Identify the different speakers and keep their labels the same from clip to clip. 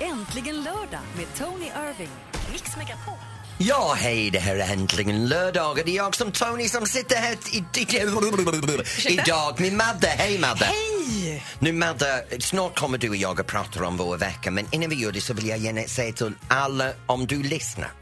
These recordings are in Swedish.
Speaker 1: Äntligen lördag med Tony Irving. Mix Megapol.
Speaker 2: Ja, hej, det här är äntligen lördag. Det är jag som Tony som sitter här i- i- idag med Madde. Hej, Madde!
Speaker 3: Hej!
Speaker 2: Nu, Madde, snart kommer du och jag att prata om vår vecka men innan vi gör det så vill jag gärna säga till alla, om du lyssnar,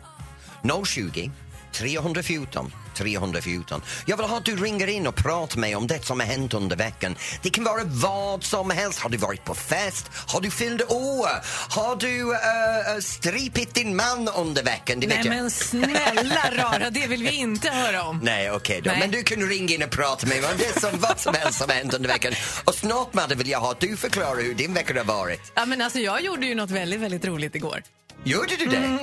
Speaker 2: 020 314 314. Jag vill ha att du ringer in och pratar med mig om det som har hänt under veckan. Det kan vara vad som helst. Har du varit på fest? Har du fyllt år? Har du uh, stripit din man under veckan? Det vet
Speaker 3: Nej
Speaker 2: jag.
Speaker 3: men snälla rara, det vill vi inte höra om.
Speaker 2: Nej, okej då.
Speaker 3: Nej.
Speaker 2: Men du kan ringa in och prata med mig om det som vad som helst som har hänt under veckan. Och snart, Madde, vill jag ha att du förklarar hur din vecka har varit.
Speaker 3: Ja, men alltså, jag gjorde ju något väldigt, väldigt roligt igår.
Speaker 2: Gjorde du det?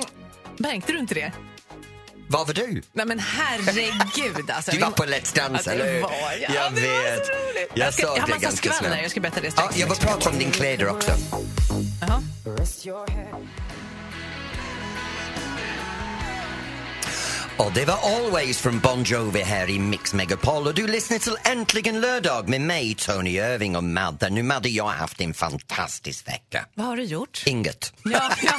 Speaker 3: Märkte du inte det?
Speaker 2: Vad var du?
Speaker 3: Nej men herregud alltså.
Speaker 2: Du
Speaker 3: Vi
Speaker 2: var
Speaker 3: må-
Speaker 2: på Let's Dance,
Speaker 3: ja,
Speaker 2: eller
Speaker 3: det
Speaker 2: hur?
Speaker 3: var jag.
Speaker 2: jag.
Speaker 3: Ja, det var
Speaker 2: vet.
Speaker 3: så roligt.
Speaker 2: Jag,
Speaker 3: Jag ska-
Speaker 2: såg
Speaker 3: jag har
Speaker 2: det
Speaker 3: massa
Speaker 2: ganska
Speaker 3: skvaller.
Speaker 2: snabbt.
Speaker 3: Jag ska berätta det
Speaker 2: Ja,
Speaker 3: strax.
Speaker 2: jag vill prata om din kläder också.
Speaker 3: Jaha.
Speaker 2: Och det var Always från Bon Jovi här i Mix Megapol och du lyssnar till Äntligen lördag med mig, Tony Irving och Madde. Nu Madde, jag har haft en fantastisk vecka.
Speaker 3: Vad har du gjort?
Speaker 2: Inget.
Speaker 3: Ja, jaha.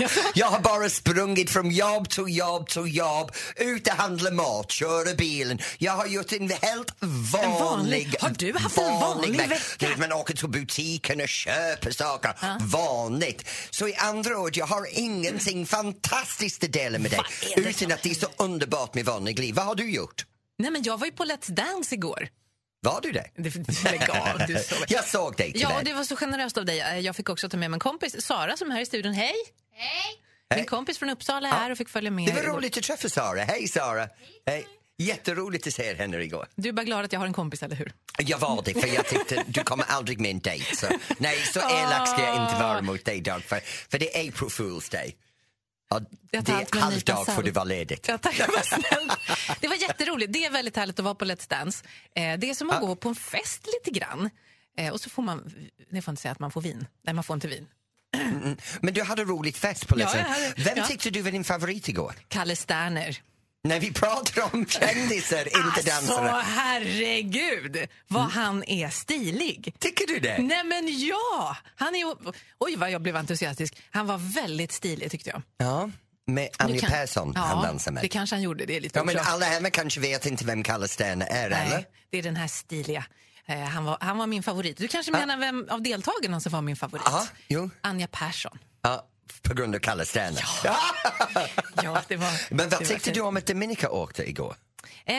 Speaker 3: Ja.
Speaker 2: Jag har bara sprungit från jobb till jobb till jobb, ut och handla mat, köra bilen. Jag har gjort en helt vanlig...
Speaker 3: En vanlig- Har du haft en vanlig
Speaker 2: veck-
Speaker 3: vecka?
Speaker 2: Du vet, Man åker till butiken och köper saker. Vanligt. Så i andra ord, jag har ingenting fantastiskt att dela med dig.
Speaker 3: Vad är det
Speaker 2: Utan
Speaker 3: som
Speaker 2: att det är så underbart med vanligt liv. Vad har du gjort?
Speaker 3: Nej men jag var ju på Let's Dance igår.
Speaker 2: Var du det?
Speaker 3: Det- Lägg av, du sover.
Speaker 2: Jag såg dig
Speaker 3: Mm. Ja, och
Speaker 2: tyvärr.
Speaker 3: det var så generöst av dig. Eh, Jag fick också ta med mig en kompis, Sara som är här i studion. Hej! Hej! Min kompis från Uppsala är här och fick följa med.
Speaker 2: Det var
Speaker 3: igår.
Speaker 2: roligt att träffa Sara. Hej Sara! Hej. Jätteroligt att se henne igår.
Speaker 3: Du är bara glad att jag har en kompis, eller hur?
Speaker 2: Jag var det, för jag tyckte du kommer aldrig med en dejt. Så, nej, så elak ska jag inte vara mot dig, Dag, för, för det är April Fool's Day. Och det
Speaker 3: Jag
Speaker 2: är
Speaker 3: tar allt med en nypa
Speaker 2: halvdag
Speaker 3: salt.
Speaker 2: får du vara ledigt.
Speaker 3: Ja, tack, vad snällt. Det var jätteroligt. Det är väldigt härligt att vara på Let's Dance. Eh, Det är som att gå på en fest lite grann. Eh, Och så får man, ni får inte säga att man får vin. Nej, man får inte vin.
Speaker 2: Men du hade roligt fest på Let's
Speaker 3: jag
Speaker 2: Dance.
Speaker 3: hade-
Speaker 2: Vem
Speaker 3: ja.
Speaker 2: tyckte du var din favorit igår?
Speaker 3: Kalle Sterner.
Speaker 2: När vi pratar om kändisar,
Speaker 3: Alltså-
Speaker 2: inte dansare. Mm.
Speaker 3: herregud vad han är stilig.
Speaker 2: Tycker du det?
Speaker 3: Nej men ja! Han är, oj vad jag blev entusiastisk. Han var väldigt stilig tyckte jag.
Speaker 2: Ja, med Anja
Speaker 3: kan-
Speaker 2: Persson
Speaker 3: ja,
Speaker 2: han dansar med.
Speaker 3: Det kanske han gjorde, det är lite
Speaker 2: Ja, men
Speaker 3: oklart.
Speaker 2: alla hemma kanske vet inte vem Kalle Sten är, eller?
Speaker 3: Nej, det är den här stiliga. Eh, han, var, han var min favorit. Du kanske menar vem av deltagarna som var min favorit?
Speaker 2: Ja, jo.
Speaker 3: Anja Persson.
Speaker 2: Ja, på grund av Kalle Sten.
Speaker 3: Ja, det var,
Speaker 2: Men
Speaker 3: det
Speaker 2: vad
Speaker 3: var
Speaker 2: tyckte
Speaker 3: fint.
Speaker 2: du om att Dominika åkte igår?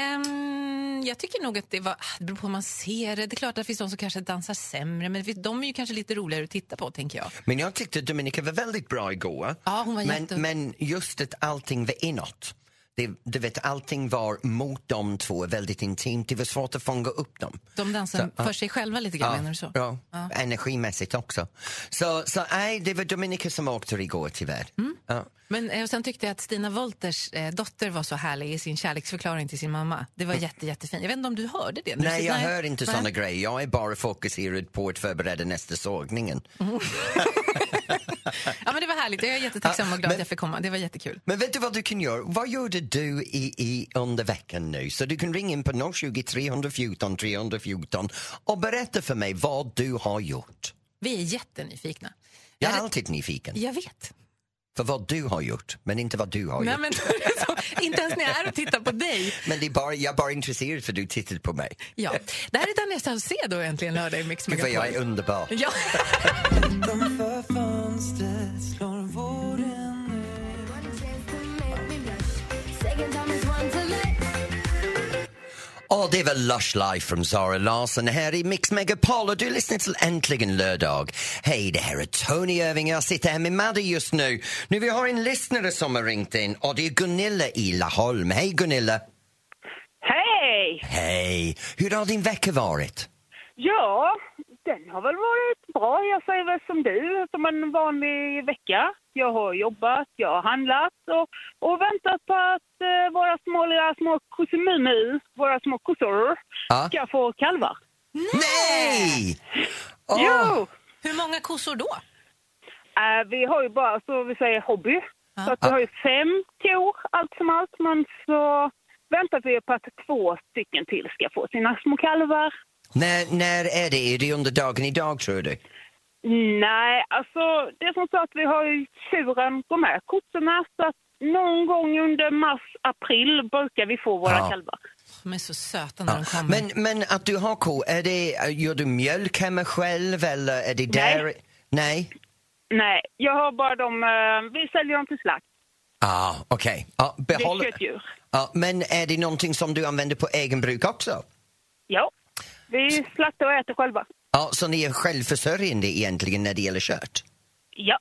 Speaker 3: Ehm, jag tycker nog att det var... ah, Det beror på hur man ser det. Det är klart att det finns de som kanske dansar sämre, men det finns, de är ju kanske lite roligare att titta på, tänker jag.
Speaker 2: Men jag tyckte Dominika var väldigt bra igår.
Speaker 3: Ja, hon var
Speaker 2: men,
Speaker 3: jätte-
Speaker 2: men just att allting var inåt. Det, du vet, allting var mot de två, väldigt intimt. Det var svårt att fånga upp dem.
Speaker 3: De dansar för sig själva lite grann, menar du så?
Speaker 2: ja, Energimässigt också. Så, så nej, det var Dominika som åkte igår tyvärr. Ja.
Speaker 3: Men eh, och sen tyckte jag att Stina Wolters eh, dotter var så härlig i sin kärleksförklaring till sin mamma. Det var jätte, jättefint. Jag vet inte om du hörde det? när du
Speaker 2: Mm. Nej,
Speaker 3: sitter-
Speaker 2: jag hör inte
Speaker 3: Nej.
Speaker 2: såna grejer. Jag är bara fokuserad på att förbereda nästa sågningen.
Speaker 3: Ja, men det var härligt. Jag är jättetacksam och glad
Speaker 2: men-
Speaker 3: att jag fick komma. Det var jättekul.
Speaker 2: Men vet du vad du kan göra? Vad gjorde du i, i under veckan nu? Så du kan ringa in på 020 314 314 och berätta för mig vad du har gjort.
Speaker 3: Vi är jättenyfikna.
Speaker 2: Jag är
Speaker 3: Eller-
Speaker 2: alltid nyfiken
Speaker 3: Jag vet.
Speaker 2: för vad du har gjort, men inte vad du har
Speaker 3: Nej,
Speaker 2: gjort.
Speaker 3: men, inte ens när jag är och tittar på dig.
Speaker 2: Men det är bara, jag är bara intresserad för du tittade på mig.
Speaker 3: Ja. Det här är Daniel Saucedo äntligen lördag i Mix
Speaker 2: Gud vad jag är
Speaker 3: Megapol.
Speaker 2: underbar.
Speaker 3: Ja.
Speaker 2: Och det var Lush Life från Zara Larsson här i Mix Megapol och du lyssnar till Äntligen lördag. Hej, det här är Tony Irving jag sitter här med Madde just nu. Nu vi har en lyssnare som har ringt in och det är Gunilla i Laholm. Hej Gunilla!
Speaker 4: Hej!
Speaker 2: Hej! Hur har din vecka varit?
Speaker 4: Ja, den har väl varit bra. Jag säger väl som du, som en vanlig vecka. Jag har jobbat, jag har handlat och, och väntat på att eh, våra små, lilla små kosimini, våra små kossor,
Speaker 2: Ja.
Speaker 4: ska få kalvar.
Speaker 2: Nej! Åh,
Speaker 4: Jo!
Speaker 3: Hur många kossor då?
Speaker 4: Eh, vi har ju bara, så vi säger, hobby. Så att vi har ju fem kor, allt som allt. Men så väntar vi på att två stycken till ska få sina små kalvar.
Speaker 2: När, när är det? Är det under dagen idag tror du?
Speaker 4: Nej, alltså det är som så att vi har ju turen på med kossorna så att någon gång under mars, april brukar vi få våra
Speaker 2: Ja.
Speaker 4: kalvar.
Speaker 3: De är så söta när de kommer.
Speaker 2: Men, men att du har ko, är det, eh, gör du mjölk hemma själv eller är det
Speaker 4: Nej.
Speaker 2: dairy? Nej.
Speaker 4: Nej, jag har bara dem, eh, vi säljer dem till slakt.
Speaker 2: Ah, okej. Ja,
Speaker 4: Det är
Speaker 2: behåll...
Speaker 4: köttdjur.
Speaker 2: Ja, men är det någonting som du använder på egen bruk också?
Speaker 4: Ja, vi slaktar och äter själva.
Speaker 2: Ja, så ni är självförsörjande egentligen när det gäller kött?
Speaker 4: Ja,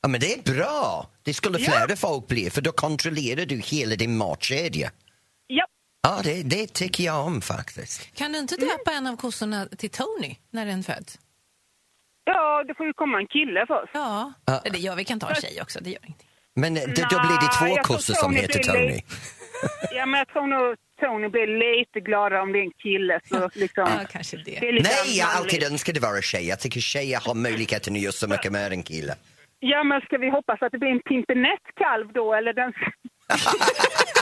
Speaker 2: Ja, men det är bra. Det skulle flera folk bli, för då kontrollerar du hela din matkedja.
Speaker 4: ja.
Speaker 2: Ja, det, det tycker jag om faktiskt.
Speaker 3: Kan du inte döpa en av kossorna till Tony när den föds?
Speaker 4: Ja, det får ju komma en kille först.
Speaker 3: Ja,
Speaker 2: Ja.
Speaker 3: det gör vi. kan ta en tjej också. Det gör ingenting.
Speaker 2: Men det, då blir det
Speaker 4: Nej,
Speaker 2: två
Speaker 4: jag
Speaker 2: kossor
Speaker 4: förstår
Speaker 2: som
Speaker 4: ni
Speaker 2: heter
Speaker 4: blir
Speaker 2: Tony.
Speaker 4: lite- Ja, men jag tror nog Tony blir lite gladare om det är en kille. Så liksom,
Speaker 3: Ja, kanske det.
Speaker 4: är lite
Speaker 2: Nej, jag
Speaker 4: manligt.
Speaker 2: alltid önskar det vara tjej. Jag tycker tjejer har möjligheten att göra så mycket mer än killar.
Speaker 4: Ja, men ska vi hoppas att det blir en pimpinett-kalv då? Eller den...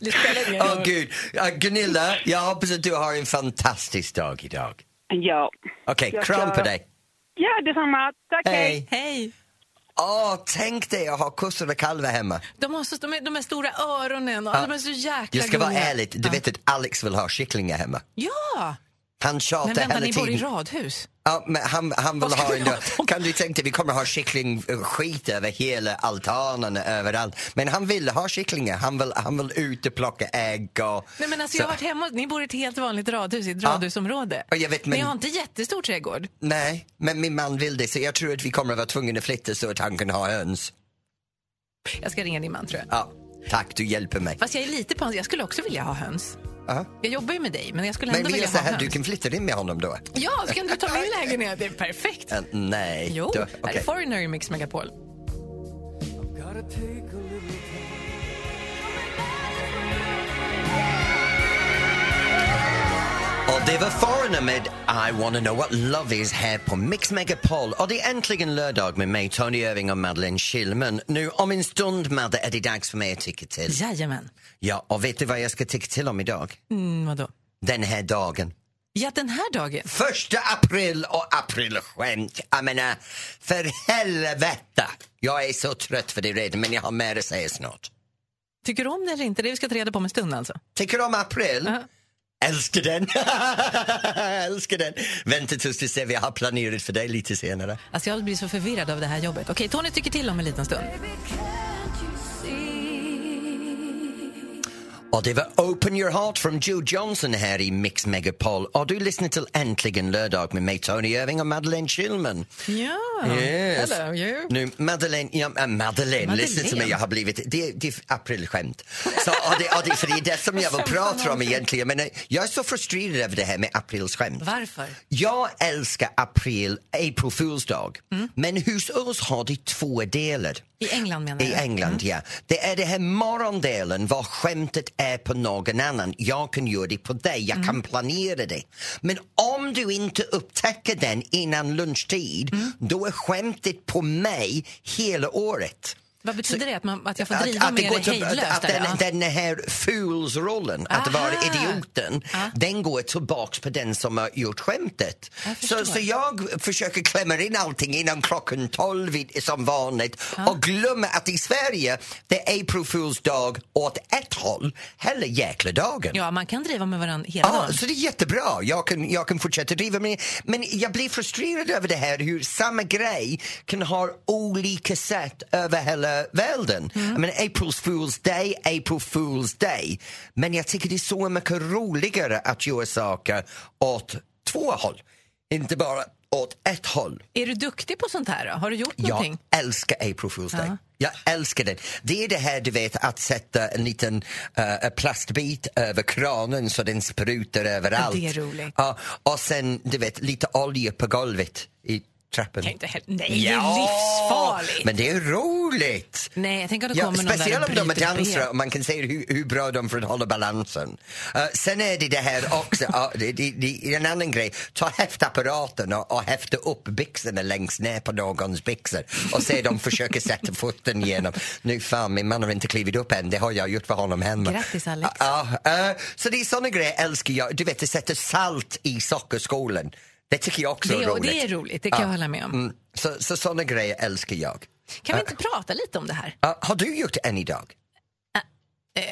Speaker 3: Det spelar ingen
Speaker 2: Åh
Speaker 3: roll.
Speaker 2: gud, Ja, Gunilla, jag hoppas att du har en fantastisk dag idag.
Speaker 4: Ja.
Speaker 2: Okej,
Speaker 4: Jag
Speaker 2: kram på
Speaker 4: ska-
Speaker 2: dig.
Speaker 4: ja, detsamma. Tack,
Speaker 2: Hej.
Speaker 3: Hej!
Speaker 2: Åh, tänk dig att ha kossor och kalvar hemma.
Speaker 3: De har så, de, är, de här stora öronen och de är så jäkla
Speaker 2: Jag ska vara
Speaker 3: gulliga.
Speaker 2: ärlig, du vet att Alex vill ha kycklingar hemma.
Speaker 3: Ja!
Speaker 2: Han
Speaker 3: Men
Speaker 2: tjatar
Speaker 3: vänta,
Speaker 2: hela
Speaker 3: ni bor i
Speaker 2: tiden.
Speaker 3: radhus?
Speaker 2: Ja, men han, han vill
Speaker 3: Vad ska
Speaker 2: ha
Speaker 3: vi
Speaker 2: en,
Speaker 3: ha dem?
Speaker 2: kan du tänka dig, vi kommer ha kycklingskit över hela altanen överallt. Men han vill ha kycklingar, han vill, han vill ut och plocka ägg och...
Speaker 3: Nej, men alltså,
Speaker 2: Så-
Speaker 3: jag har varit hemma, ni bor i ett helt vanligt radhus, i ett radhusområde.
Speaker 2: Ja, jag vet, men-
Speaker 3: Ni har inte jättestor trädgård.
Speaker 2: Nej, men min man vill det så jag tror att vi kommer att vara tvungna att flytta så att han kan ha höns.
Speaker 3: Jag ska ringa din man, tror jag.
Speaker 2: Ja, tack, du hjälper mig.
Speaker 3: Fast jag är lite på Jag skulle också vilja ha höns.
Speaker 2: Ja.
Speaker 3: Jag jobbar ju med dig, men jag skulle
Speaker 2: Men
Speaker 3: ändå
Speaker 2: vi gör
Speaker 3: vilja
Speaker 2: så
Speaker 3: ha
Speaker 2: här,
Speaker 3: höns.
Speaker 2: du kan flytta in med honom då?
Speaker 3: Ja, så kan du ta min lägenhet. Det är perfekt.
Speaker 2: Eh, nej.
Speaker 3: Jo,
Speaker 2: då,
Speaker 3: är det
Speaker 2: okej.
Speaker 3: Foreigner i Mix Megapol?
Speaker 2: Och det var Foreigner med I wanna know what love is här på Mix Megapol. Och det är äntligen lördag med mig, Tony Irving och Madeleine Schillman. Nu om en stund, Madde, är det dags för mig att tycka till.
Speaker 3: Jajamän.
Speaker 2: Ja, och vet du vad jag ska tycka till om idag?
Speaker 3: Mm, vadå?
Speaker 2: Den här dagen.
Speaker 3: Ja, den här dagen.
Speaker 2: Första april och aprilskämt. Jag menar, för helvete! Jag är så trött för det redan, men jag har mer att säga snart.
Speaker 3: Tycker du om det eller inte? Det vi ska ta reda på om en stund alltså.
Speaker 2: Tycker du om april? Älskar den! Älskar den! Vänta tills vi ser, vi har planerat för dig lite senare.
Speaker 3: Alltså jag blir så förvirrad av det här jobbet. Okej, Tony tycker till om en liten stund.
Speaker 2: Och det var Open Your Heart från Joe Johnson här i Mix Megapol. Och du lyssnar till Äntligen lördag med mig Tony Irving och Madeleine Schillman.
Speaker 3: Ja.
Speaker 2: Yes.
Speaker 3: Hello, you.
Speaker 2: Nu, Madeleine, ja, äh, Madeleine, lyssna till mig, jag har blivit, det, det är aprilskämt. Så, och det, och det, för det är det som jag vill prata om egentligen, men eh, jag är så frustrerad över det här med aprilskämt.
Speaker 3: Varför?
Speaker 2: Jag älskar april, April Fools dag,
Speaker 3: Mm.
Speaker 2: men hos oss har det två delar.
Speaker 3: I England menar
Speaker 2: I
Speaker 3: jag.
Speaker 2: England, ja. Det är det här morgondelen var skämtet är på någon annan. Jag kan göra det på dig, jag kan planera det. Men om du inte upptäcker den innan lunchtid, då är skämtet på mig hela året.
Speaker 3: Vad betyder det? Att, man, att jag får
Speaker 2: Att,
Speaker 3: driva
Speaker 2: att, det
Speaker 3: med
Speaker 2: går
Speaker 3: dig
Speaker 2: till,
Speaker 3: hejdlöst?
Speaker 2: att
Speaker 3: där,
Speaker 2: den,
Speaker 3: ja.
Speaker 2: den här fulsrollen, att vara
Speaker 3: Aha.
Speaker 2: idioten, den går tillbaks på den som har gjort skämtet.
Speaker 3: Jag
Speaker 2: så,
Speaker 3: förstår.
Speaker 2: så jag försöker klämma in allting innan klockan tolv i- som vanligt och glömmer att i Sverige det är April Fools dag åt ett håll, hela jäkla dagen.
Speaker 3: ja, man kan driva med varandra hela
Speaker 2: Ja,
Speaker 3: dagen.
Speaker 2: så det är jättebra. Jag kan, jag kan fortsätta driva med Men jag blir frustrerad över det här hur samma grej kan ha olika sätt över hela världen. Jag menar, April Fool's Day, April Fool's Day. Men jag tycker det är så mycket roligare att göra saker åt två håll, inte bara åt ett håll.
Speaker 3: Är du duktig på sånt här? Då? Har du gjort någonting?
Speaker 2: Jag älskar April Fool's Day. Jag älskar den. Det är det här du vet att sätta en liten eh, plastbit över kranen så den sprutar överallt.
Speaker 3: det är roligt.
Speaker 2: Ja, och sen du vet lite olja på golvet i trappen.
Speaker 3: Kan inte heller- Nej, det är livsfarligt.
Speaker 2: Men det är roligt.
Speaker 3: Nej, jag tänker att det
Speaker 2: Ja,
Speaker 3: kommer någon där
Speaker 2: speciellt om
Speaker 3: och
Speaker 2: de är
Speaker 3: bryter
Speaker 2: dansare
Speaker 3: ben.
Speaker 2: och man kan se hur, hur bra de får hålla balansen. Eh, sen är det det här också, ja, det, det, det är en annan grej, ta häftapparaten och, och häfta upp byxorna längst ner på någons byxor och se dem försöka sätta foten igenom. Nu fan, min man har inte klivit upp än, det har jag gjort för honom hemma.
Speaker 3: Grattis, Alex.
Speaker 2: Ja, eh, så det är såna grejer älskar jag. Du vet, att sätta salt i sockerskålen. Det tycker jag också är
Speaker 3: Det, är-
Speaker 2: roligt.
Speaker 3: det är roligt, det kan jag hålla med om.
Speaker 2: Mm, så, så sådana grejer älskar jag.
Speaker 3: Kan vi inte prata lite om det här?
Speaker 2: Ja, har du gjort en idag?
Speaker 3: Eh,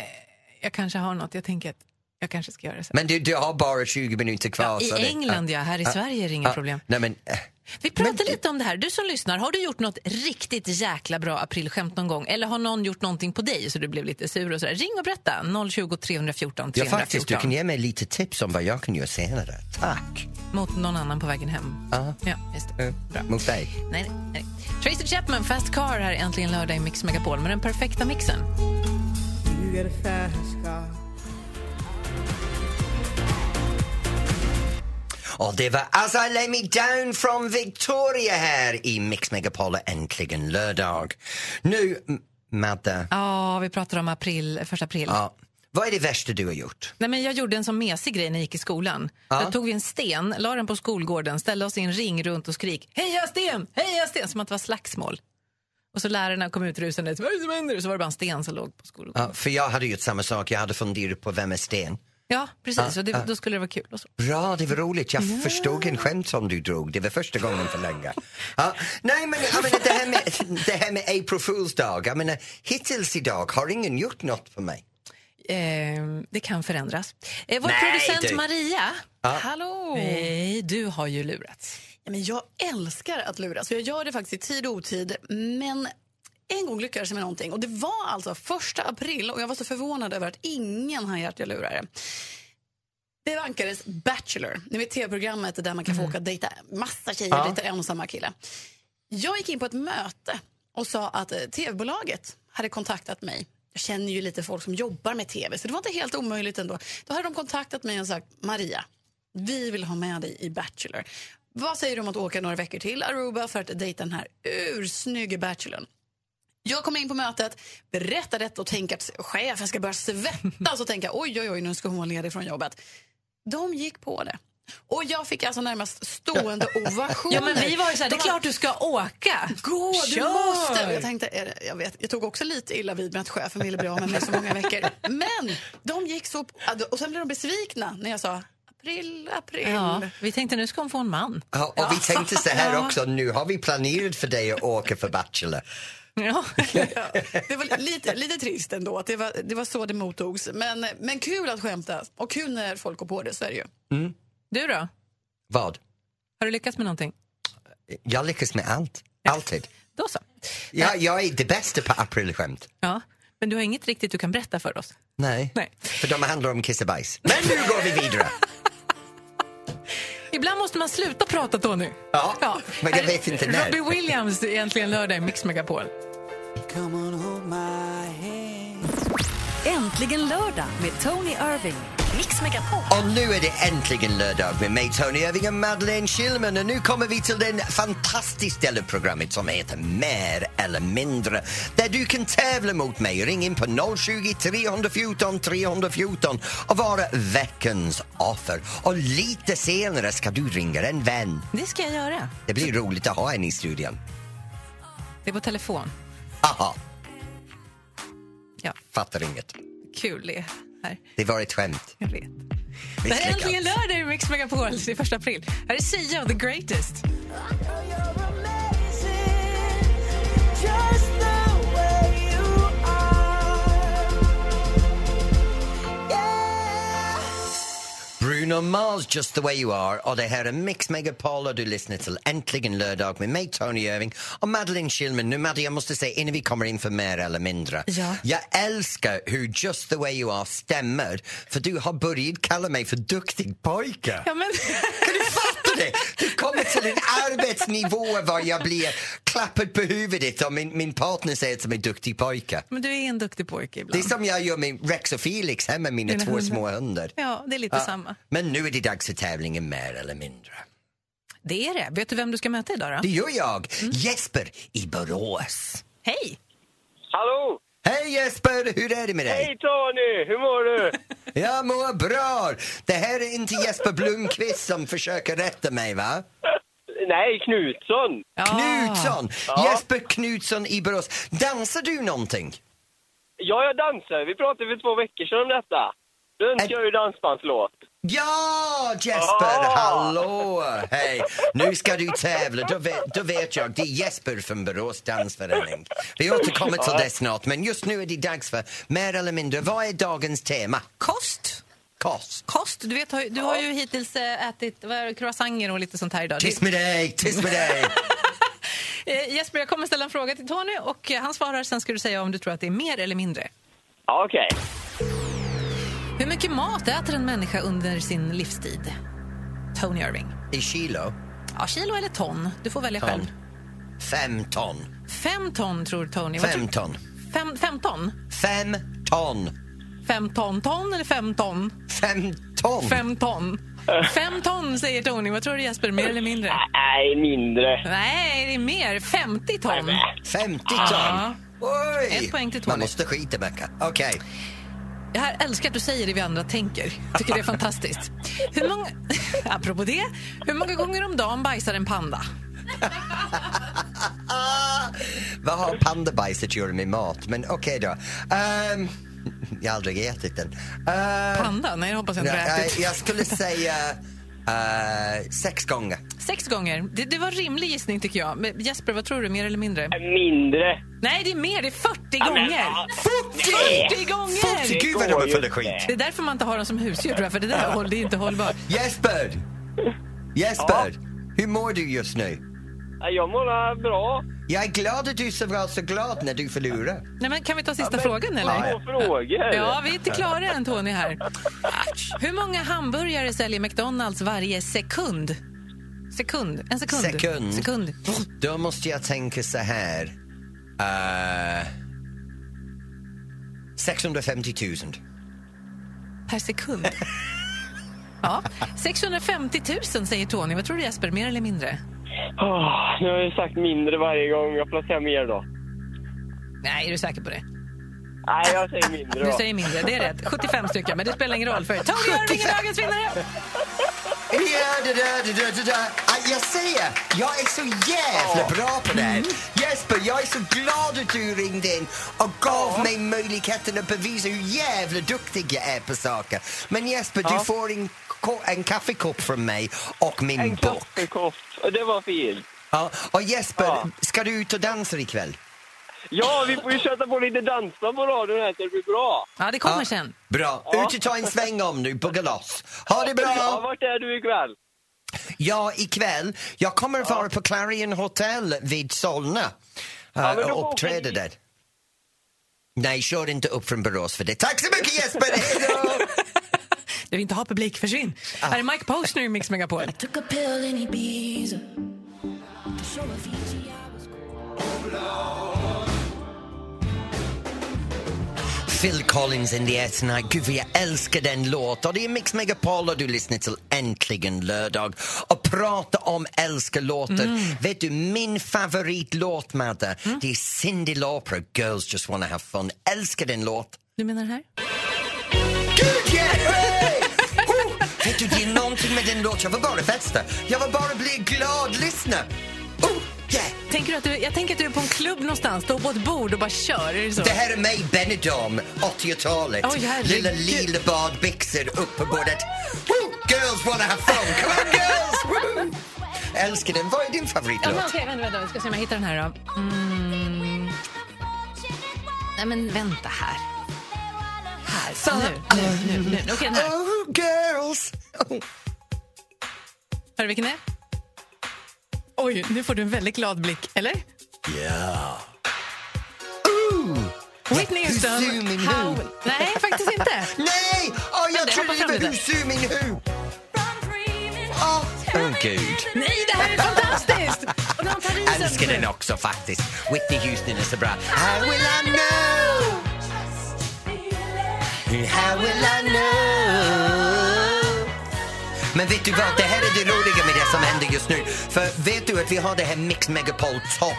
Speaker 3: Jag kanske har något, jag tänker att jag kanske ska göra det sen.
Speaker 2: Men du, du har bara 20 minuter kvar.
Speaker 3: I
Speaker 2: så det-
Speaker 3: England, ja. Här i Sverige är det inga
Speaker 2: Ja,
Speaker 3: problem.
Speaker 2: Nej, men, eh,
Speaker 3: Vi pratar lite om det här. Du som lyssnar, har du gjort något riktigt jäkla bra aprilskämt någon gång? Eller har någon gjort någonting på dig så du blev lite sur och sådär? Ring och berätta. 020 314 314.
Speaker 2: ja, faktiskt, du kan ge mig lite tips om vad jag kan göra senare. Tack!
Speaker 3: Mot någon annan på vägen hem.
Speaker 2: Ja.
Speaker 3: Ja, just det.
Speaker 2: Eh,
Speaker 3: Bra.
Speaker 2: Mot dig.
Speaker 3: Nej, nej, nej. Tracy Chapman, Fast Car här äntligen lördag i Mix Megapol med den perfekta mixen.
Speaker 5: You got a fast car.
Speaker 2: Och det var As I Lay Me Down från Victoria här i Mix Megapol äntligen lördag. Nu, M- Madde,
Speaker 3: Ja, vi pratar om april, första april.
Speaker 2: ja, vad är det värsta du har gjort?
Speaker 3: Nej, men jag gjorde en sån mesig grej när jag gick i skolan. Då tog vi en sten, la den på skolgården, ställde oss i en ring runt och skrik Heja sten! Heja sten! Som att det var slagsmål. Och så lärarna kom ut rusande. Vad är det som händer? Och Så var det bara en sten som låg på skolgården.
Speaker 2: Ja, för jag hade gjort samma sak, jag hade funderat på vem är Sten?
Speaker 3: Ja, precis. Och det, då skulle det vara kul. Och så.
Speaker 2: Bra, det var roligt. Jag förstod en skämt som du drog. Det var första gången för länge. Ja, nej, men jag menar, det, här med, det här med April Fool's Dag. Jag menar, hittills idag har ingen gjort något för mig.
Speaker 3: Ehm, det kan förändras. Eh, vår
Speaker 2: Nej,
Speaker 3: producent
Speaker 2: du.
Speaker 3: Maria.
Speaker 6: Hallå!
Speaker 3: Nej, du har ju lurats.
Speaker 6: Ja, men jag älskar att lura, så jag gör det faktiskt i tid och otid. Men en gång lyckades jag med någonting och det var alltså första april och jag var så förvånad över att ingen hann ge att jag lurade. Det vankades Bachelor, ni vet tv-programmet där man kan få åka och dejta massa tjejer,
Speaker 2: Ja.
Speaker 6: dejta en och samma kille. Jag gick in på ett möte och sa att eh, tv-bolaget hade kontaktat mig. Jag känner ju lite folk som jobbar med tv, så det var inte helt omöjligt ändå. Då hade de kontaktat mig och sagt Maria, vi vill ha med dig i Bachelor. Vad säger du om att åka några veckor till Aruba för att dejta den här ursnygge bachelorn? Jag kom in på mötet, berättade detta och tänkte att chefen ska börja svettas och tänka oj, oj, oj, nu ska hon vara ledig från jobbet. De gick på det. Och jag fick alltså närmast stående ovationer.
Speaker 3: Ja, men vi var ju så här, det är
Speaker 6: De
Speaker 3: klart du ska åka.
Speaker 6: Gå, du
Speaker 3: Kör!
Speaker 6: måste! Och Jag, tänkte, är det- jag, vet, jag tog också lite illa vid med att chefen ville bli av med mig så många veckor. Men de gick så... Och sen blev de besvikna när jag sa april, april.
Speaker 3: Ja, vi tänkte nu ska hon få en man.
Speaker 2: Ja, och vi tänkte så här också, nu har vi planerat för dig att åka för Bachelor.
Speaker 3: Ja.
Speaker 6: Ja, det var lite, lite trist ändå att det var, det var så det mottogs. Men, men kul att skämta och kul när folk går på det, så är det ju.
Speaker 3: Du då?
Speaker 2: Vad?
Speaker 3: Har du lyckats med någonting?
Speaker 2: Jag lyckas med allt. Alltid.
Speaker 3: Då så.
Speaker 2: Jag, jag är det bästa på aprilskämt.
Speaker 3: Ja. Men du har inget riktigt du kan berätta för oss?
Speaker 2: Nej.
Speaker 3: Nej.
Speaker 2: För de handlar om kiss och bajs. Men nu går vi vidare!
Speaker 3: Ibland måste man sluta prata, Tony.
Speaker 2: Ja, men jag
Speaker 3: Är det
Speaker 2: vet inte när.
Speaker 3: Robbie Williams, egentligen lördag i Mix Megapol.
Speaker 5: Come on, hold my hand.
Speaker 1: Äntligen lördag med Tony Irving. Mix Megapol.
Speaker 2: Och nu är det äntligen lördag med mig Tony Irving och Madeleine Schillman och nu kommer vi till den fantastiska delen av programmet som heter Mer eller mindre där du kan tävla mot mig. Ring in på 020 314 314 och vara veckans offer. Och lite senare ska du ringa en vän.
Speaker 3: Det ska jag göra.
Speaker 2: Det blir roligt att ha en i studion.
Speaker 3: Det är på telefon.
Speaker 2: Aha.
Speaker 3: Ja.
Speaker 2: Fattar inget.
Speaker 3: Kul det här.
Speaker 2: Det var ett skämt.
Speaker 3: Jag vet. Det här är äntligen lördag i Mix Megapol. Det är första april. Här är Sia och The Greatest.
Speaker 2: Bruno Mars, Just the way you are och det här är Mix Megapol och du lyssnar till Äntligen lördag med mig Tony Irving och Madeleine Schillman. Nu Madde, jag måste säga innan vi kommer in för mer eller mindre.
Speaker 3: Ja.
Speaker 2: Jag älskar hur Just the way you are stämmer för du har börjat kalla mig för duktig pojke.
Speaker 3: Ja, men...
Speaker 2: Kan du fatta det? Du kommer till en arbetsnivå var jag blir klappad på huvudet och min, min partner säger till mig duktig pojke.
Speaker 3: men du är en duktig
Speaker 2: Det
Speaker 3: pojke
Speaker 2: är
Speaker 3: ibland.
Speaker 2: som jag gör med Rex och Felix hemma, mina
Speaker 3: Dina
Speaker 2: två
Speaker 3: hundar.
Speaker 2: små hundar.
Speaker 3: Ja, det är lite
Speaker 2: Ja,
Speaker 3: samma.
Speaker 2: Men nu är det dags för tävlingen mer eller mindre.
Speaker 3: Det är det. Vet du vem du ska möta idag då?
Speaker 2: Det gör jag,
Speaker 7: Mm.
Speaker 2: Jesper i Borås.
Speaker 3: Hej!
Speaker 7: Hallå!
Speaker 2: Hej Jesper, hur är det med dig?
Speaker 7: Hej Tony! Hur mår du?
Speaker 2: Jag mår bra! Det här är inte Jesper Blomqvist som försöker rätta mig va?
Speaker 7: Nej, Knutsson!
Speaker 3: Ja.
Speaker 2: Knutsson!
Speaker 7: Ja.
Speaker 2: Jesper Knutsson i Borås. Dansar du någonting?
Speaker 7: Ja, jag dansar. Vi pratade för två veckor sedan om detta. Du önskar
Speaker 2: Ä-
Speaker 7: ju dansbandslåt.
Speaker 2: Ja, Jesper!
Speaker 7: Ah!
Speaker 2: Hallå! Hej! Nu ska du tävla. Då vet, då vet jag. Det är Jesper från Borås dansförening. Vi återkommer till det snart, men just nu är det dags för mer eller mindre. Vad är dagens tema?
Speaker 3: Kost?
Speaker 2: Kost.
Speaker 3: Kost? Du, vet, har ju- du har ju hittills eh, ätit vad är det, croissanter och lite sånt här idag. Det-
Speaker 2: Tyst med dig! Tyst med dig!
Speaker 3: Eh, Jesper, jag kommer ställa en fråga till Tony och eh, han svarar sen ska du säga om du tror att det är mer eller mindre.
Speaker 7: Ja, Okej.
Speaker 3: Hur mycket mat äter en människa under sin livstid? Tony Irving.
Speaker 2: I kilo?
Speaker 3: Ja, kilo eller ton? Du får välja själv.
Speaker 2: Ton. Fem ton.
Speaker 3: Fem ton tror Tony. Vad
Speaker 2: Fem
Speaker 3: tror-
Speaker 2: ton.
Speaker 3: Fem, fem ton?
Speaker 2: Fem ton.
Speaker 3: Fem ton ton eller fem ton?
Speaker 2: Fem ton.
Speaker 3: Fem ton. Fem ton säger Tony. Vad tror du Jesper, mer eller mindre?
Speaker 7: Nej, mindre.
Speaker 3: Nej, det är mer. 50 ton.
Speaker 2: Femtio
Speaker 3: Ja.
Speaker 2: ton. Oj!
Speaker 3: Ah. Ett poäng till Tony.
Speaker 2: Man måste skita mycket. Okej.
Speaker 3: Jag här älskar att du säger det vi andra tänker. Tycker det är fantastiskt. Hur många, apropå det, hur många gånger om dagen bajsar en panda?
Speaker 2: Vad har pandabajs att göra med mat? Men okej då. Ehm, jag har aldrig ätit den. Ehm,
Speaker 3: Panda? Nej, det hoppas jag inte du har
Speaker 2: nej,
Speaker 3: ätit.
Speaker 2: jag skulle säga eh, sex gånger.
Speaker 3: Sex gånger. Det, det var en rimlig gissning tycker jag. Men Jesper, vad tror du? Mer eller mindre?
Speaker 7: Mindre.
Speaker 3: Nej, det är mer. Det är 40
Speaker 7: Ja, men,
Speaker 3: gånger.
Speaker 7: ja.
Speaker 3: 40 gånger!
Speaker 7: Det
Speaker 2: Gud vad de
Speaker 7: går
Speaker 2: är
Speaker 7: ju
Speaker 2: full av
Speaker 7: inte.
Speaker 2: skit.
Speaker 3: Det är därför man inte har dem som husdjur tror jag, för det där håll- det är inte hållbart.
Speaker 2: Jesper! Jesper! Hur mår du just nu?
Speaker 7: Ja, Jag mår bra.
Speaker 2: Jag är glad att du är så bra så glad när du förlorar.
Speaker 3: Nej, men kan vi ta sista frågan
Speaker 7: Två
Speaker 3: eller?
Speaker 7: frågor.
Speaker 3: Ja, vi är inte klara än Tony här. Hur många hamburgare säljer McDonalds varje sekund? Sekund. En sekund.
Speaker 2: Sekund.
Speaker 3: Sekund.
Speaker 2: Då måste jag tänka så här. Eh, 650 000.
Speaker 3: Per sekund. Ja. 650 000 säger Tony. Vad tror du Jesper, mer eller mindre?
Speaker 7: Åh, nu har jag sagt mindre varje gång. Jag placerar mer då.
Speaker 3: Nej, är du säker på det?
Speaker 7: Nej, jag säger mindre
Speaker 3: Du
Speaker 7: då.
Speaker 3: säger mindre, det är rätt. 75 stycken, men det spelar ingen roll för Tony Irving är dagens vinnare!
Speaker 2: Ja, det där, det där, det där. Ah, Jag säger, jag är så jävla bra på det här.
Speaker 7: Mm.
Speaker 2: Jesper, jag är så glad att du ringde in och gav mig möjligheten att bevisa hur jävla duktig jag är på saker. Men Jesper, du får en, ko- en kaffekopp från mig och min
Speaker 7: En
Speaker 2: bok.
Speaker 7: kaffekopp. Det var fint.
Speaker 2: Ja, och Jesper,
Speaker 7: Ja.
Speaker 2: ska du ut och dansa ikväll?
Speaker 7: Ja, vi får ju sätta på lite dansband på radion här så det blir bra.
Speaker 3: Ja, det kommer
Speaker 2: Ja.
Speaker 3: sen.
Speaker 2: Bra,
Speaker 7: Ja.
Speaker 2: ut och ta en sväng om nu, bugga loss. Ha det
Speaker 7: Ja,
Speaker 2: bra!
Speaker 7: vart är du ikväll?
Speaker 2: Ja, ikväll. Jag kommer vara på Clarion Hotel vid Solna
Speaker 7: men
Speaker 2: eh,
Speaker 7: då
Speaker 2: och
Speaker 7: åker
Speaker 2: uppträda
Speaker 7: vi.
Speaker 2: där. Nej, kör inte upp från Borås för det. Tack så mycket Jesper! Hej då!
Speaker 3: Du vill inte ha publik, försvinn.
Speaker 2: Ah.
Speaker 3: Här är Mike Posner i Mix Megapol.
Speaker 2: Phil Collins in the S Night. Gud vad jag älskar den låten. Och Det är Mix Megapol och du lyssnar till Äntligen lördag. Och prata om älskar låtar. Vet du, min favoritlåt Madde, det är Cyndi Lauper, Girls Just Wanna Have Fun. Älskar den låt.
Speaker 3: Du menar det här?
Speaker 2: Gud Jerry! Oh, vet du, det är någonting med den låten. Jag vill bara festa. Jag vill bara bli glad. Lyssna! Oh, yeah.
Speaker 3: Tänker du att du, jag tänker att du är på en klubb någonstans, står på ett bord och bara kör. Är det så?
Speaker 2: Det här är mig, Benidorm, 80-talet.
Speaker 3: Oj, herregud.
Speaker 2: Lilla lilbadbyxor upp på bordet. Oh, girls wanna have fun! Come on, girls! Woo! Älskar den. Vad är din
Speaker 3: Ja, men
Speaker 2: favoritlåt?
Speaker 3: okej, vänta, vänta, vi ska se om jag hittar den här då. Mm. Nej men vänta här. Här, nu, nu, nu. nu. Okej, den här.
Speaker 2: Oh, girls! Oh,
Speaker 3: Hör du vilken det är? Oj, nu får du en väldigt glad blick, eller?
Speaker 2: yeah. Ooh.
Speaker 3: Whitney Houston.
Speaker 2: Hur sur min hud.
Speaker 3: How- Nej, faktiskt inte.
Speaker 2: Nej! Oh,
Speaker 3: Men
Speaker 2: jag
Speaker 3: det hoppar
Speaker 2: trodde
Speaker 3: fram
Speaker 2: det var
Speaker 3: lite.
Speaker 2: Hur sur min hud. Åh, oh, gud.
Speaker 3: Nej, det här är fantastiskt! Och de tar i sig
Speaker 2: Älskar den också faktiskt. Whitney Houston är så bra. How will I know? How will I know? Men vet du vad, det här är det roliga med det som händer just nu. För vet du att vi har det här Mix Megapol Top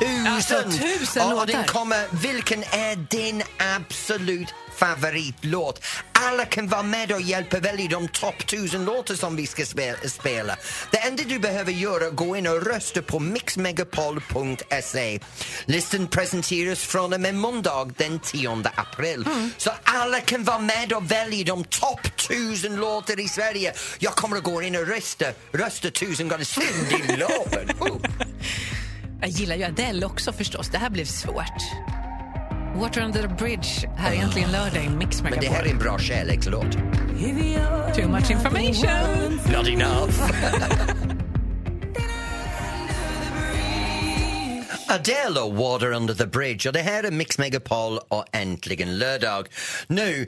Speaker 2: 1000.
Speaker 3: Alltså, 1000
Speaker 2: och, och den
Speaker 3: låtar.
Speaker 2: kommer, vilken är din absolut favoritlåt. Alla kan vara med och hjälpa välja de topp tusen låtar som vi ska spe- spela. Det enda du behöver göra är att gå in och rösta på mixmegapol.se. Listan presenteras från och med måndag den 10 april.
Speaker 3: Mm.
Speaker 2: Så alla kan vara med och välja de topp tusen låtar i Sverige. Jag kommer att gå in och rösta, rösta tusen gånger. Synd din låt! Oh.
Speaker 3: Jag gillar ju Adele också förstås. Det här blev svårt. Water under the bridge, här är egentligen lördag i Mix
Speaker 2: Ah. Men det
Speaker 3: Megapol.
Speaker 2: här är en bra kärlekslåt.
Speaker 3: Too much information!
Speaker 2: Not enough. Adele och Water Under the Bridge och det här är Mix Megapol och äntligen lördag. Nu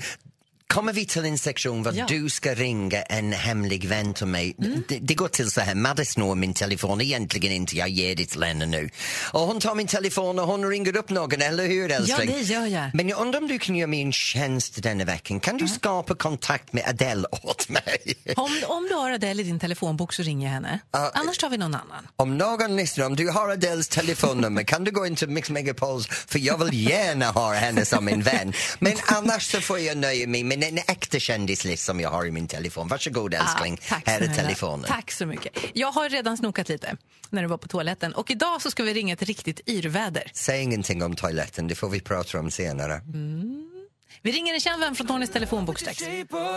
Speaker 2: kommer vi till en sektion var
Speaker 3: Ja. Mm.
Speaker 2: du ska ringa en hemlig vän till mig. Det, det går till så här, Madde snor min telefon, egentligen inte, jag ger det till henne nu. Och hon tar min telefon och hon ringer upp någon, eller hur älskling?
Speaker 3: det gör jag.
Speaker 2: Men jag undrar om du kan göra mig en tjänst denna veckan. Kan du skapa kontakt med Adele åt mig?
Speaker 3: Om, om du har Adele i din telefonbok så ringer jag henne.
Speaker 2: Ah.
Speaker 3: Annars tar vi någon annan.
Speaker 2: Om någon lyssnar, om du har Adeles telefonnummer kan du gå in till Mix Megapols för jag vill gärna ha henne som min vän. Men annars så får jag nöja mig med en äkta kändislist som jag har i min telefon. Varsågod älskling,
Speaker 3: Ja, Ah, tack
Speaker 2: här är
Speaker 3: snälla.
Speaker 2: telefonen.
Speaker 3: Tack så mycket. Jag har redan snokat lite när du var på toaletten. Och idag så ska vi ringa ett riktigt yrväder.
Speaker 2: Säg ingenting om toaletten, det får vi prata om senare.
Speaker 3: Vi ringer en känd vän från Tonys telefonbok strax.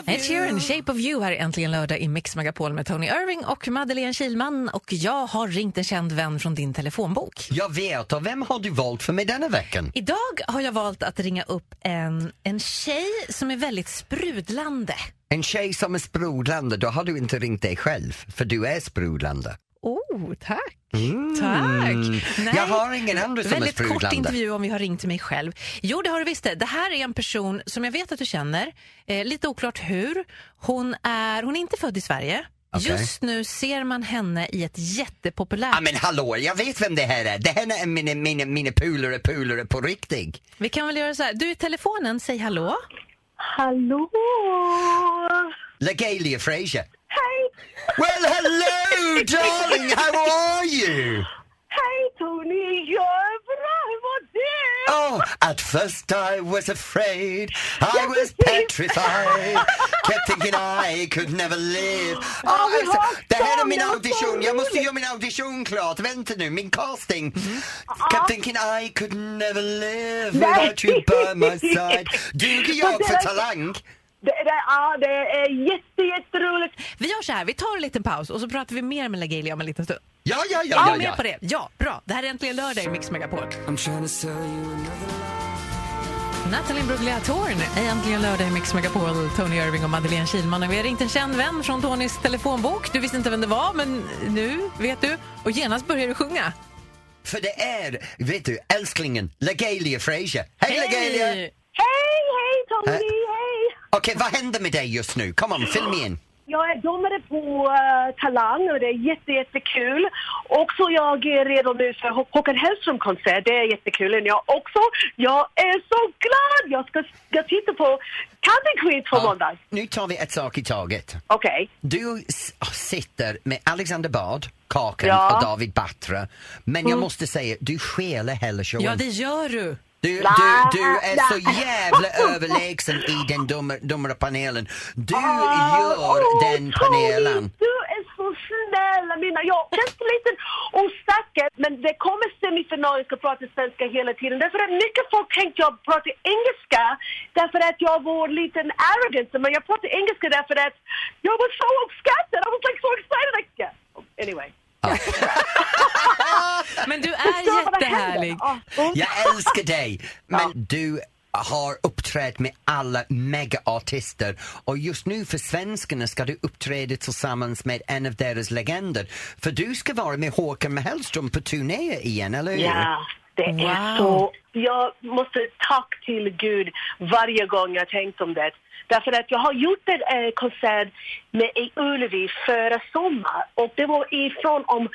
Speaker 3: Ed Sheeran, Shape of You här är äntligen lördag i Mix Megapol med Tony Irving och Madeleine Kilman. Och jag har ringt en känd vän från din telefonbok.
Speaker 2: Jag vet, och vem har du valt för mig denna veckan?
Speaker 3: Idag har jag valt att ringa upp en, en tjej som är väldigt sprudlande.
Speaker 2: En tjej som är sprudlande, då har du inte ringt dig själv, för du är sprudlande.
Speaker 3: Oh, tack.
Speaker 2: Mm.
Speaker 3: Tack. Nej.
Speaker 2: Jag har ingen andra som är
Speaker 3: Väldigt kort
Speaker 2: sprudlande.
Speaker 3: intervju om vi har ringt till mig själv. Jo, det har du visst det. Det här är en person som jag vet att du känner. Eh, lite oklart hur. Hon är, hon är inte född i Sverige.
Speaker 2: Okej.
Speaker 3: Just nu ser man henne i ett jättepopulärt...
Speaker 2: Ja men hallå, jag vet vem det här är. Det här är mina, mina, mina polare, polare på riktigt.
Speaker 3: Vi kan väl göra så här. Du i telefonen, säg hallå.
Speaker 4: Hallå!
Speaker 2: Legalia Fraser.
Speaker 4: Hej!
Speaker 2: Well, hello, darling. How are you?
Speaker 4: Hej Tony! Jag är bra, hur mår du?
Speaker 2: Oh, at first I was afraid. I was petrified. Kept thinking I could never live. Oh,
Speaker 4: vi
Speaker 2: alltså,
Speaker 4: har
Speaker 2: det här är min
Speaker 4: sån,
Speaker 2: audition.
Speaker 4: sån
Speaker 2: Jag måste göra min audition klart. Vänta nu, min casting. Kept thinking I could never live without you by my side. Duger jag
Speaker 4: Och
Speaker 2: för
Speaker 4: det-
Speaker 2: talang?
Speaker 4: Det, det, ja, det är jätte, jätteroligt.
Speaker 3: Vi gör så här, vi tar en liten paus och så pratar vi mer med Legalia om en liten stund.
Speaker 2: Ja, ja, ja,
Speaker 3: Är
Speaker 2: ja.
Speaker 3: du med
Speaker 2: ja.
Speaker 3: på det? Ja, bra. Det här är äntligen lördag i Mix Megapol.
Speaker 5: I'm trying to sell you another
Speaker 3: Nathalie Bruglia Torn, äntligen lördag i Mix Megapol, Tony Irving och Madeleine Kilman. Och Vi har ringt en känd vän från Tonys telefonbok. Du visste inte vem det var, men nu vet du. Och genast börjar du sjunga.
Speaker 2: För det är, vet du, älsklingen Legalia Fraser. Hej, Legalia!
Speaker 3: Hej!
Speaker 4: Hej, hej Tony, hej!
Speaker 2: Okej, vad händer med dig just nu? Kom on, film in.
Speaker 4: Jag är domare på eh, Talang och det är jätte, jättekul. Och så jag är redo nu för Hå- Håkan Hellström-konsert, det är jättekul. Jag också. Jag är så glad! Jag ska, ska titta på Country Queens på måndag.
Speaker 2: Nu tar vi ett sak i taget.
Speaker 4: Okej.
Speaker 2: Du s- ah, sitter med Alexander Bard, Kakan
Speaker 4: Ja. Mm.
Speaker 2: och David Batra. Men jag måste säga, du skäler hela showen.
Speaker 3: Ja, det gör du.
Speaker 2: Du,
Speaker 4: Nej,
Speaker 2: du, du är så
Speaker 4: nej.
Speaker 2: jävla överlägsen i den dumma, dumma panelen. Du
Speaker 4: Ah,
Speaker 2: gör
Speaker 4: åh,
Speaker 2: den panelen.
Speaker 4: Tony, du är så snäll Amina. Jag är lite osäker men det kommer semifinalen ska prata svenska hela tiden. Därför att mycket folk tänkte jag pratar engelska därför att jag var lite arrogant men jag pratar engelska därför att jag var så uppskattad. I was like so excited. Like, yeah. Anyway.
Speaker 3: Men du är
Speaker 4: Förstår vad det
Speaker 3: jättehärlig.
Speaker 4: händer? Ja. Mm.
Speaker 2: Jag älskar dig, men du har uppträtt med alla megaartister och just nu för svenskarna ska du uppträda tillsammans med en av deras legender. För du ska vara med Håkan Hellström på turné igen, eller hur?
Speaker 4: Ja, det är
Speaker 3: Wow.
Speaker 4: så. Jag måste tack till Gud varje gång jag tänkt om det. Därför att jag har gjort en eh, konsert med i Ullevi förra sommar och det var ifrån om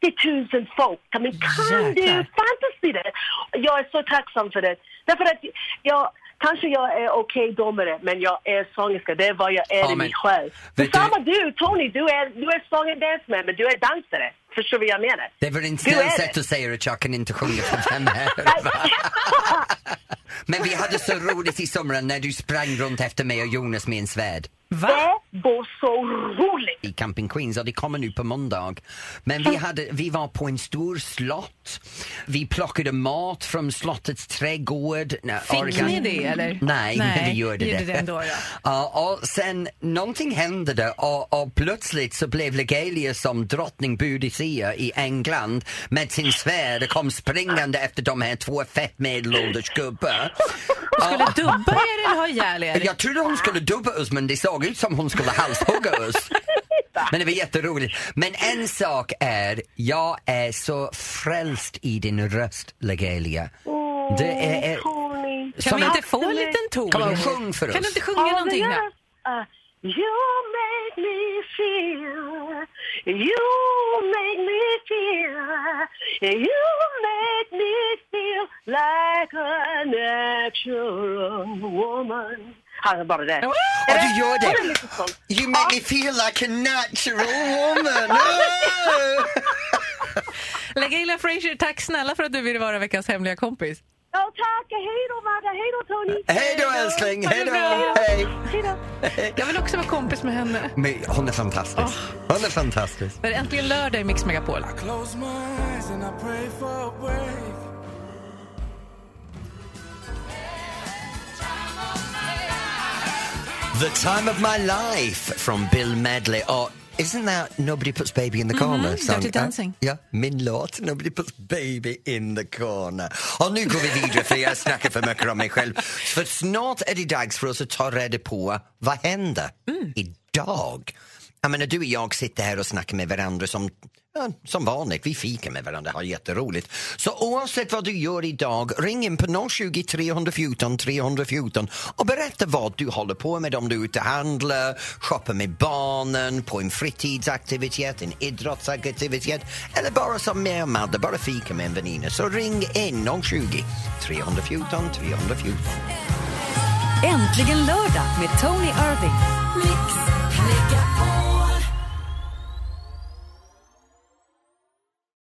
Speaker 4: 70 000 folk. Men kan du
Speaker 3: Jäklar.
Speaker 4: fantasy det? Jag är så tacksam för det. Därför att jag, kanske jag är okej domare men jag är sångerska. Det är vad jag är
Speaker 2: Ja,
Speaker 4: i
Speaker 2: men-
Speaker 4: mig själv.
Speaker 2: vet du-
Speaker 4: Detsamma du Tony, du är, du är sång och dansman men du är dansare. Förstår du vad jag menar?
Speaker 2: Det var inte
Speaker 4: Du är
Speaker 2: snällt sätt
Speaker 4: det.
Speaker 2: att säga att jag kan inte sjunga för fem här.
Speaker 4: Nej.
Speaker 2: Men vi hade så roligt i somras när du sprang runt efter mig och Jonas med en svärd
Speaker 3: Va?
Speaker 4: Det var så roligt!
Speaker 2: i Camping Queens och det kommer nu på måndag. Men vi, hade, vi var på en stor slott. Vi plockade mat från slottets trädgård. Nej,
Speaker 3: Fick
Speaker 2: orkar-
Speaker 3: ni det eller?
Speaker 2: Nej, men vi gjorde,
Speaker 3: gjorde det ändå, ja.
Speaker 2: Ja, och sen någonting hände där och, och plötsligt så blev Legalia som drottning Boudicca i England med sin svärd och kom springande efter de här två fett medelålders gubbar.
Speaker 3: Skulle dubba er eller ha ihjäl er?
Speaker 2: Jag trodde hon skulle dubba oss men det såg ut som hon skulle halshugga oss. Men det var jätteroligt. Men en sak är, jag är så frälst i din röst Legalia. Mm, Det är... är
Speaker 4: Tony.
Speaker 3: Kan
Speaker 2: som
Speaker 3: vi
Speaker 2: en-
Speaker 3: inte få en liten ton?
Speaker 2: Kan man sjung för oss?
Speaker 3: Kan du inte sjunga någonting då?
Speaker 4: Uh, you make me feel, you make me feel, you make me feel like a natural woman. Han är bara det.
Speaker 2: Ja, du gör det.
Speaker 4: Ja, är lite sånt.
Speaker 2: You make me feel like a natural woman!
Speaker 3: Legaila Frazier, tack snälla för att du ville vara veckans hemliga kompis.
Speaker 4: Ja, tack. Hej då, Madde. Hej då, Tony.
Speaker 2: Hej då älskling, hej då! Hej.
Speaker 4: Hej då.
Speaker 3: Jag vill också vara kompis med henne.
Speaker 2: Men hon är fantastisk. Hon är fantastisk.
Speaker 3: Det är äntligen lördag i Mix Megapol.
Speaker 5: Close my eyes and I pray for a break.
Speaker 8: The time of my life från Bill Medley. Och Isn't that Nobody Puts Baby in the Corner? song?
Speaker 3: Mhm, Dirty Dancing.
Speaker 8: Ja, ja, min låt Nobody Puts Baby in the Corner. Och nu går vi vidare för jag snackar för mycket om mig själv. För snart är det dags för oss att ta reda på vad händer
Speaker 3: Mm.
Speaker 8: idag? Jag menar, du och jag sitter här och snackar med varandra som, ja, som vanligt. Vi fikar med varandra, har jätteroligt. Så oavsett vad du gör idag, ring in på 020 314 314 och berätta vad du håller på med. Om du är ute och handlar, shoppar med barnen, på en fritidsaktivitet, en idrottsaktivitet eller bara som mig och Madde, bara fika med en väninna. Så ring in 020 314 314.
Speaker 1: Äntligen lördag med Tony Irving.